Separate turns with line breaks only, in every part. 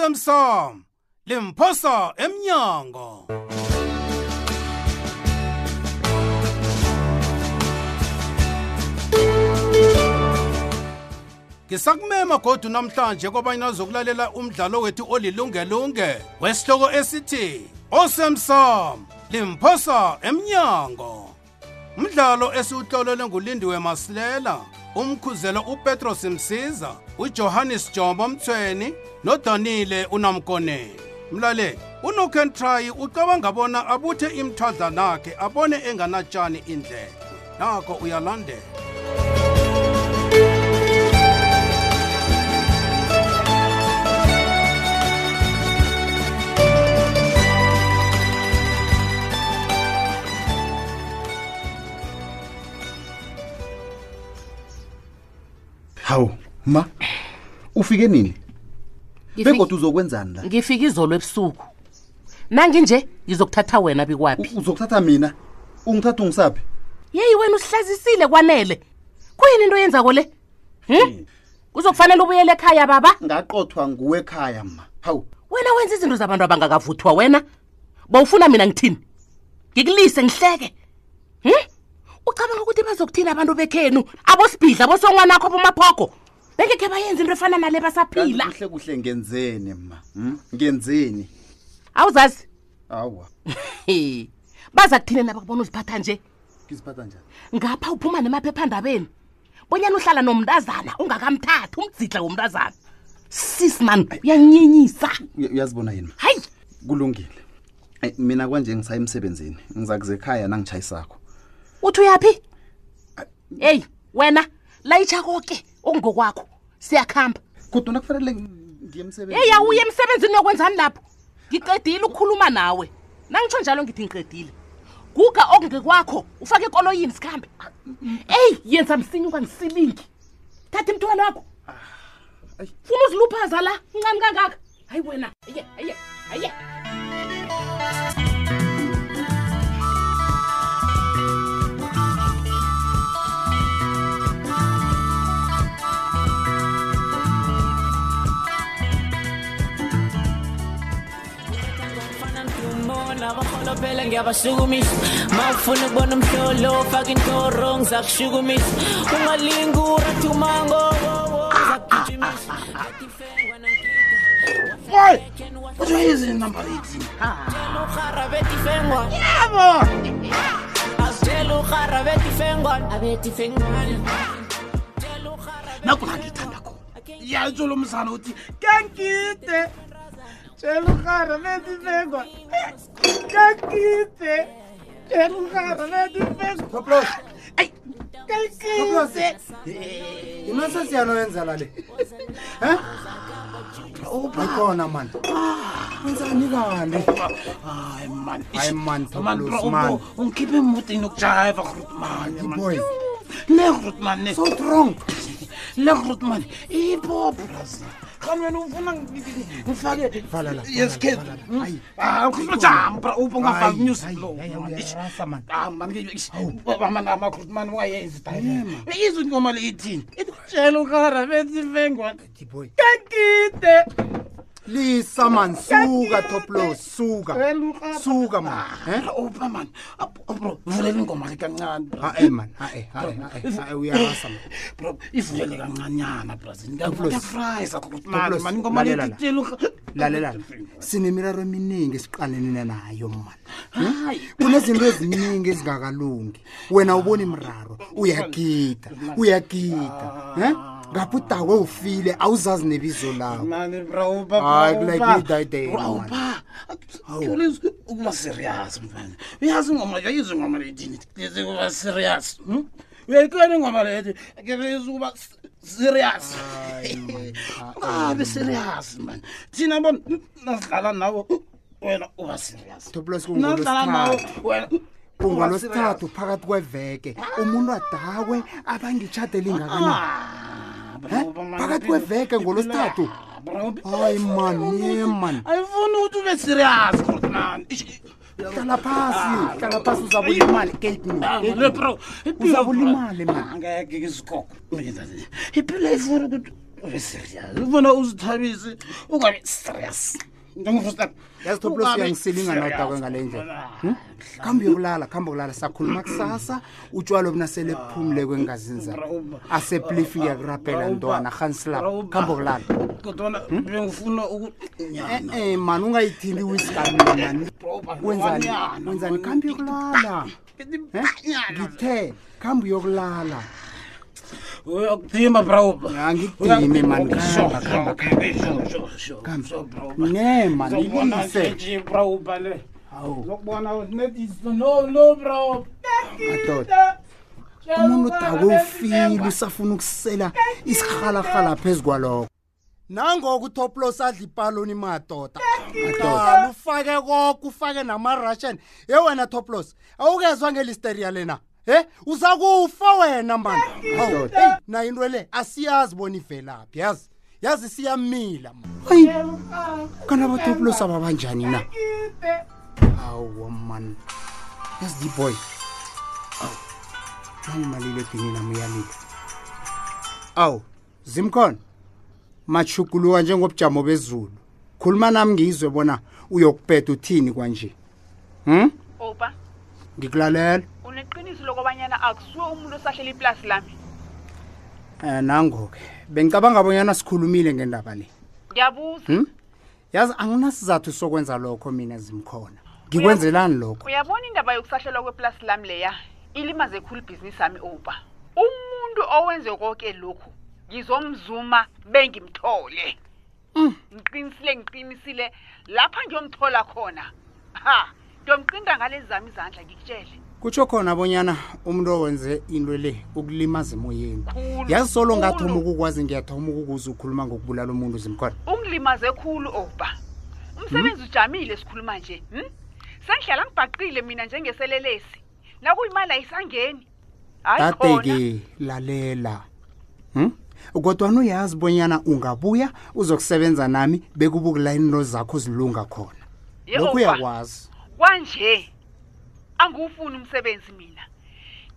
osemsam limphosa emnyango ngisakumema godu namhlanje kobanyana zokulalela umdlalo wethu olilungelunge wesihloko esithi osemsam limphosa emnyango umdlalo esiwuhlolelwe ngulindiwe masilela umkhuzelo upetros msiza ujohannes jombo mthweni nodonile unamkoneni mlaleli unokentry ucabanga bona abuthe imthwadla nakhe abone enganatshani indlebe nakho uyalandela
hawu ma ufike nini
Ngifiki-
begodwa uzokwenzani la
ngifike izolo ebusuku nangi nje ngizokuthatha wena bikwaphi
U- uzokuthatha mina ungithatha ungisaphi
yeyi wena usihlazisile kwanele kuyini into yenzako le hm kuzokufanele ubuyele ekhaya baba
ngaqothwa nguwe ekhaya ma hawu
wena wenza izinto zabantu abangakavuthwa wena bawufuna mina ngithini ngikulise ngihleke hm ucabanga ukuthi bazokuthina abantu bekhenu abosibhidla bosongwanakho bomaphogo bengekhe bayenza into efana nale
kanti
basaphila
kuhle kuhle ngenzeni ma hmm? ngenzeni
awuzazi
awa
he baza kuthine nabakubona uziphatha nje
ngiziphatha njani
ngapha uphuma nemaphephandabeni bonyana uhlala nomntazana ungakamthathi umdzidla womntazana sis man uyanyenyisa
Uya- uyazibona yini ma
hayi
kulungile Eh, mina kwanje ngisaya emsebenzini ngiza kuze ekhaya nangitshayisakho
uthi uyaphi eyi wena layitsha koke okungokwakho siyakuhamba
kodwa nakufanele ngiye emsebenzini
eyi awuye emsebenzini yokwenzani lapho ngiqedile ukukhuluma nawe nangitsho njalo ngithi ngiqedile guga okungekwakho ufake ekoloyini sikhambe eyi yenza msinya ungangisilingi thatha imntwana wakho
Ayi.
funa uziluphaza la uncane kangaka hayi wena aye aye aye
Ngiyabona, abaholophele ngiyabashukumisa mawufuna ukubona umhlolo faka intoro ngizakushukumisa ungalingi urathi umango ngizakugijimisa uzoyizinamba betifengwa asitshela uhara betifengwana abetifengwana
nakula ngiyithanda khona yatsho lo mzana uthi kankide jeluhara betifengwa kankide jeluhara betifengwa Ay, kankide
imasasiyano wenzala le ukhona mani wenzani kanti
hayi man
Hayi man,
man
Pablos,
bro, um
man.
ubo- ungikhiphe emoteni yokujayiva grotman
boy.
le grotman ne
so strong
le grotman ipop khani wena ufuna ngi- ngifake
Vala la,
yesikhethu
vala la, vala la.
Mm.
Hayi.
Ah, ukhuluma jam bra ubo ungafaki
Hayi,
music
hayi,
lo
hayi, hayi, rasa, man.
Ah, amanamagrotman ungayenzi izwe ingoma le ithini itshela ukara betsifengwana
Tiboy.
kakide
lisa mani suka toplos suka
Jeluhara.
suka Eh? mani
Ah, upha mani Up- oh, bro vulela ingoma le kancane bro.
ha-e mani ha-e ha-e eh, uyarasa man
bro ivulele kancanyana brazil
Toplos.
ngiyakufrayisa
Toplos,
grotman ingoma le
lalela la.
itshela
lalela la. sinemiraro eminingi esiqalenene nayo mani
hayi
Hmm? kunezinto eziningi ezingakalungi wena ubona imraro uyagida uyagida eh? ngapha udakwe ufile awuzazi nebizo lawo
mani bro uba
Hayi, kulike idayideye, man.
uba kulezi ukuba serious mfana uyazi ingoma uyayizwa ingoma lethini kulezi ukuba serious hmm? uyayikona ingoma lethi kulezi ukuba s- serious ungabe serious man thina bona nasidlala nawo wena uba serious
Toplos,
nasidlala nawo
kungolosithathu.
wena uba serious.
kungolosithathu phakathi kweveke umuntu adakwe abangitshade lingakanani
Ah, bro,
Eh?
uba mani, impilo-
Phakathi kweveke
impilo
ngoLwesithathu?
ya- bro,
hayi mani ye mani
ayifuni ukuthi ube serious man
hlala phasi hlala phasi uzabulimali gate
Ah,
uzabulimali mani
angeke ngizigogo impilo ayifuni ukuthi ube serious ufuna uzithabise ungabi serious
yazi toplos uyangisilinga nodakwe ngale ndlela khambe uyokulala khambe uyokulala sakhuluma kusasa utshwalo buna sele
Ah,
phumule kwengazinzana aseplifi yakurabhela ntwana hansilap khambe uyokulala
kodwana bengifuna ukunyana
e-e mani ungayithindi iwiskamani wenzani wenzani khambe uyokulala
Ah,
Eh? ngithe khambe uyokulala
uyakuthimba brawuba
angidimi mani khambe khambe ne mani ilise
brawuba le
hawu
zokubona no no brawuba
madoda umuntu udakwe ufile usafuna ukusela isirhalarhala phezu kwalokho nangoku utoplos adla ipaloni madoda dala ufake koke ufake nama-russian ye wena toplos awukezwa ngelisteria lena he uzakufa wena mani Hawu, eyi, na into le asiyazi bona ivelaphi yazi yazi siyamila hayi kanti abatoplos ababanjani na hawu mani yazi diboy nangimalile edini nami uyalile awu zimkhona machuguluka njengobujamo bezulu khuluma nami ngizwe bona uyokubheda uthini kwanje hm
opa
ngikulalela
uneqiniso lokobanyana akusuwe umuntu osahleli iplasi lami
um nango-ke bengicabanga bonyana sikhulumile ngendaba le
ngiyabuza
hm yazi anginasizathu sokwenza lokho mina zimkhona ngikwenzelani lokho
uyabona indaba yokusahlelwa kweplasi lami leya ilimaze khulu ibhizinisi yami opa umuntu owenze konke lokhu ngizomzuma bengimthole ngiqinisile ngiqinisile lapha ngiyomthola khona ha ngiyomqinta ngalezi zami izandla ngikutshele
kutsho khona abonyana umuntu owenze into le ukulimaza emoyeni
Khulu,
yazi solo ngathoma
khulu.
ukukwazi ngiyathoma ukukuze ukhuluma ngokubulala umuntu zimkhona
ungilimaze khulu oba umsebenzi ujamile sikhuluma nje hm sengihlala ngibhaqile mina njengeselelesi nakuyimali ayisangeni hayi khona
kade-ke lalela hm kodwana uyazi bonyana ungabuya uzokusebenza nami bekuba ukulayinilo zakho zilunga khona
Ye,
lokhu
opa,
uyakwazi
kwanje angiwufuni umsebenzi mina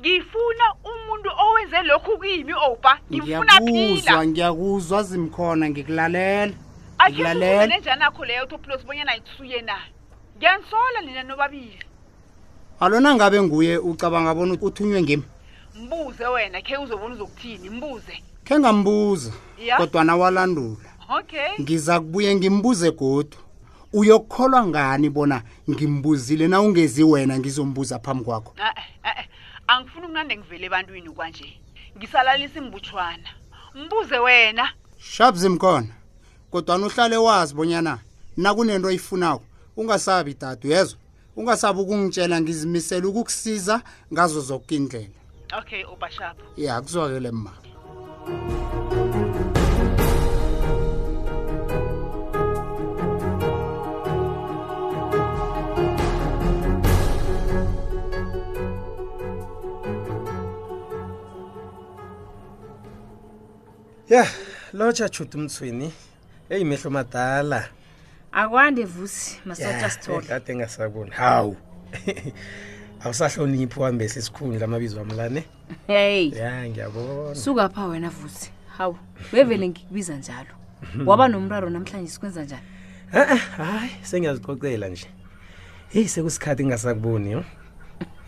ngifuna umuntu owenze lokhu kimi oba ngimfuna phila
ngiyakuzwa ngiyakuzwa zimkhona ngikulalela
akhezuzele njani akho leyo utoplos bonyana ayikusuye na ngiyanisola nina nobabili
alona ngabe nguye ucabanga bona uthunywe ngimi
mbuze wena khe uzobona uzokuthini mbuze
khe ngambuza
Ya.
kodwana walandula
okay
ngiza kubuye ngimbuze godu uyokholwa ngani bona ngimbuzile na ungezi wena ngizombuza phambi kwakho
Ah, ah, ah, angifuni ukunande ngivele ebantwini kwanje ngisalalisa imbutshwana mbuze wena
shap zimkhona kodwana uhlale wazi bonyana nakunento oyifunako ungasabi dadu yezwa ungasabi ukungitshela ngizimisele ukukusiza ngazo zoke indlela
okay ubashapho
ya kuzwakele mma
ya lotsha chuti mthweni eyi mehlo madala
akwande vusi masotsha sithole
kade ngasaboni hawu awusahloniphi wambese isikhundla amabizo ami lane
heyi
ya ngiyabona
suka pha wena vusi hawu bevele ngikubiza njalo waba nomraro namhlanje sikwenza njani
e-e hhayi sengiyazixoxela nje heyi sekusikhathi ngingasakuboni yo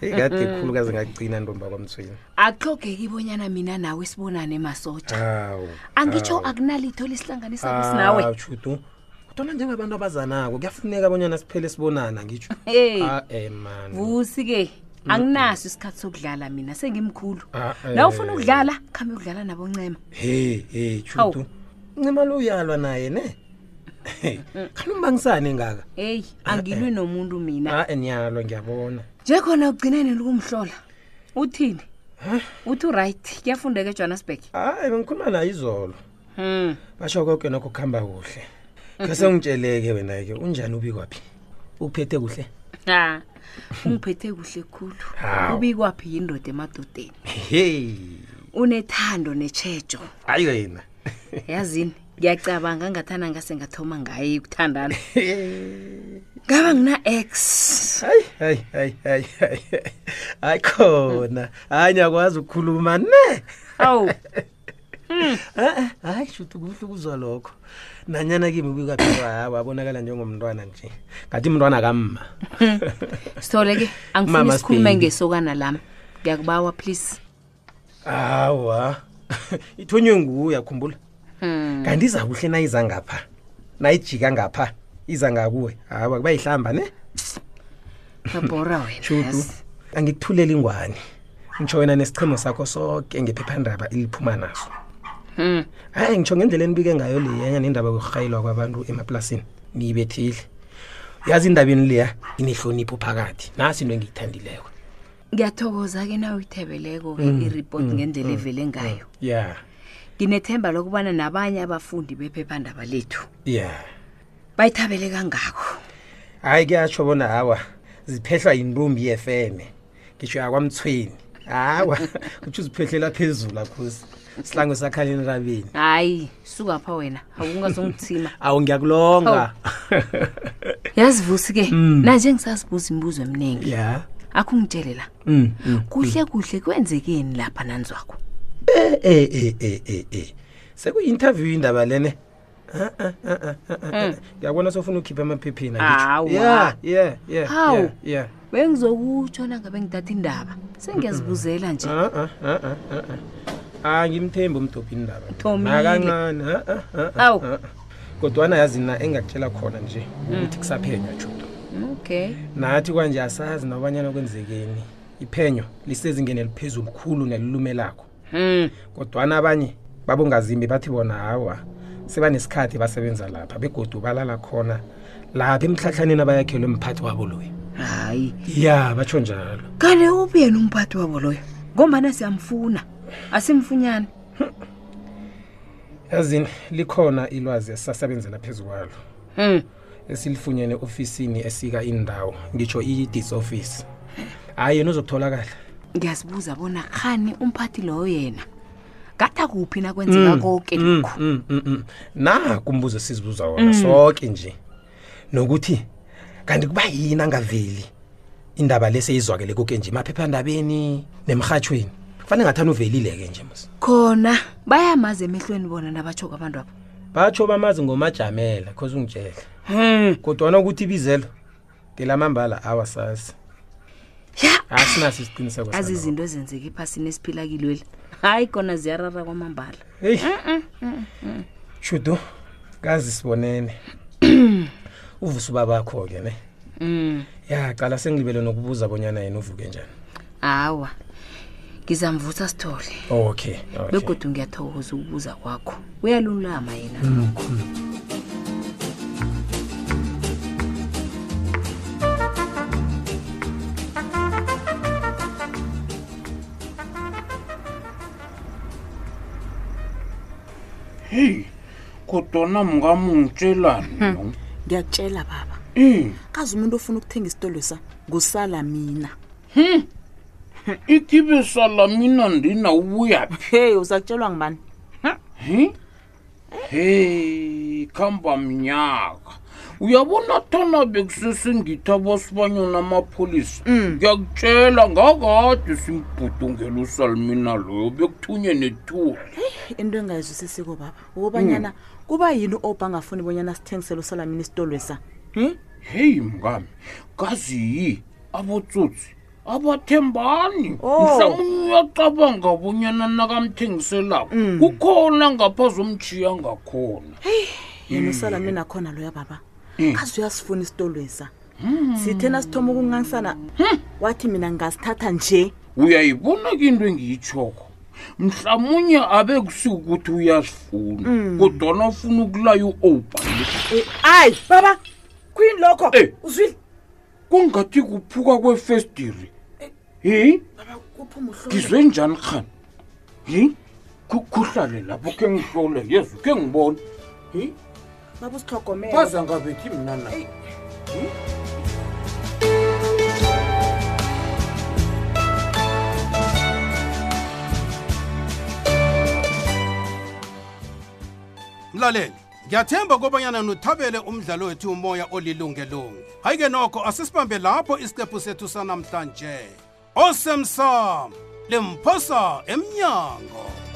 heyi kade khulu kaze ngakugcina ntomba kwamthweni
akuxogeki ibonyana mina nawe sibonane
Ah.
masotsha
hawu
angitsho akunalitho lisihlanganisako
Hawu,
sinawe
chutu kodwana njengabantu abazanako kuyafuneka bonyana siphele sibonana ngitsho
Hey.
a-e mani
vusi-ke anginaso isikhathi sokudlala mina sengimkhulu
Mm. Ah, eh.
na ufuna ukudlala khambe ukudlala naboncema
he he chutu
Hawu.
ncima lo uyalwa naye ne khani umbangisane ngaka
heyi
Ah,
angilwi nomuntu mina
a-e niyalwa ngiyabona
njekhona ugcineni lukumhlola uthini uthi uright kuyafundeka ejohannesburg
hayi bengikhuluma naye izolo
Hmm.
basho koke nokho kuhamba kuhle kase ungitsheleke wena-ke unjani ubi kwaphi uphethe kuhle
ha ungiphethe kuhle khulu
Hawu.
ubikwaphi yindoda emadodeni
he
unethando netshejo
hayi wena
yazini ngiyacabanga ngathana ngase ngathoma ngaye ukuthandana ngaba ngina-x
hayi hayi hayi hayi hayi hayi khona hayi ngiyakwazi ukukhuluma ne
awu
Eh, eh, hayi shuthi kuhle ukuzwa lokho nanyana kimi kuyikaphela hayi wabonakala njengomntwana nje ngathi mntwana kamma
sithole ke angifuni
Mama
sikhulume
Sibheki.
ngesokana lami ngiyakubawa please
hawa ithonywe nguye akhumbula
Hmm.
kanti iza kuhle nayiza ngapha nayijika ngapha iza ngakuwe hawa kuba yihlamba ne
ngabhora wena
shutu
yazi.
angikuthuleli ingwane ngitsho wena nesichemo sakho soke ngephephandaba eliphuma naso
Hmm.
hayi ngitsho ngendlela enibike ngayo leyenye nendaba yokurhayelwa kwabantu emaplasini niyibethile yazi indabeni leya inehlonipho phakathi nasi into engiyithandileko
ngiyathokoza ke nawe uyithebeleko-ke
Mm,
iripoti
mm,
ngendlela
mm,
evele ngayo
ya
nginethemba lokubana nabanye abafundi bephephandaba lethu
ya
bayithabele kangako
hayi kuyatsho bona hawa ziphehlwa yintombi yefeme ngitsho yakwamthweni hawa kutsho uziphehlela phezulu akhuzi silangwe sakhaleni rabeni
hayi suka pha wena awungazongithima
awu ngiyakulonga
yazivusi ke
Mm.
nanje ngisazibuza imibuzo eminingi
ya
akho ungitshele la
Mm, mm.
kuhle kuhle kwenzekeni lapha nanzwakho
eh eh eh eh eh eh sekuyi-interview indaba lene Ah, ah, ah, ah, ah, ah,
Hmm.
ah. ngiyabona sofuna ukhipha emaphepheni
Awa.
ya ya ya
Hawu.
ya
bengizokutsho nangabe ngidatha indaba sengiyazibuzela nje
Ah, ah, ah, ah, ah, ah. Ah, ngimthembi umdobhi indaba
Thomile.
akancane ah, ah, ah, ah,
Awu.
ah. kodwana yazi na engakutshela khona nje
Hmm.
ukuthi kusaphenya judo
okay
nathi kwanje asazi nabanyana kwenzekeni iphenyo lisezingeni eliphezulu khulu nelulume lakho
Hmm.
kodwana abanye babongazimbi bathi bona hawa sebanesikhathi basebenza lapha begodu balala khona lapha emtlhatlhaneni abayakhelwe mphathi wabo loyo
hayi
ya batsho njalo
kale uphi yena umphathi wabo loyo ngombana siyamfuna asimfunyani
yazini likhona ilwazi esisasebenzela phezu kwalo
Hmm.
esilifunyene ofisini esika indawo ngitsho i-dis office hhayi yena uzokutholakala
ngiyazibuza bona khani umphathi loyo yena katha kuphi nakwenzeka konke lokhu
mm, mm, mm. naku umbuzo esizibuza
Mm.
wona soke nje nokuthi kanti kuba yini angaveli indaba leseyizwakele kuke nje emaphephandabeni nemrhatshweni kufanele ngathani uvelile-ke nje mos
khona bayamazi emehlweni bona nabatsho kwabantu abo
batsho bamazi ngomajamela cause ungitshele
Hmm.
kodwana ukuthi ibizelo ngelamambala awasazi
ya
asinaso isiqiniseko
azi
salokho.
izinto ezenzeka ephasini esiphila kilweli hayi khona ziyarara kwamambala
heyi shudu kazi sibonene uvusa ubabakho-ke ne
Mm,
ya qala sengilibele nokubuza bonyana yena uvuke njani
awa ngizamvusa sithole
okay okay.
begodu ngiyathokoza ukubuza kwakho uyalulama yena
heyi kodwana mungamungitshelani no
ngiyakutshela baba
Eh,
kazi umuntu ofuna ukuthenga isitolo sa ngusala mina
ikhibe salamina ndina ubuyaphi
hey uzakutshelwa ngubani
Hmm? heyi khamba minyaka uyabona thana bekusesengithi abasibanyona amapholisa ngiyakutshela ngakade simbhudungela usalmina loyo bekuthunywe nethuli
into engingayizwisisiko baba ukubanyana kuba yini oba angafuni bonyana sithengisele usala mina isitolo sa
heyi mngami kazi yi abotsotsi abathembani
Oh.
mhlawumbe uyacabanga bonyana nakamthengiselako kukhona ngapha zomtshiya ngakhona
yena usala mina khona loya baba kazi uyasifuna isitolo sa sithena sithoma ukunganisana wathi mina ngingasithatha nje
uyayibona ke into engiyitshoko mhlamunye abe kusikuthi uyasifuna kodwana ufuna ukulaya u-oba
ayi baba kuyini lokho
Eh.
uzwile
kungathi kuphuka kwefestiri heyi ngizwe njani khani heyi Khu- khuhlale lapho khe ngihlole yezu khe ngibone heyi
baba usihlogomele
baza ngabethi mna na
mlaleli ngiyathemba kobanyana nuthabele umdlalo wethu umoya olilungelunge hayi-ke nokho asisibambe lapho isiqephu sethu sanamhlanje osemsam limphosa emnyango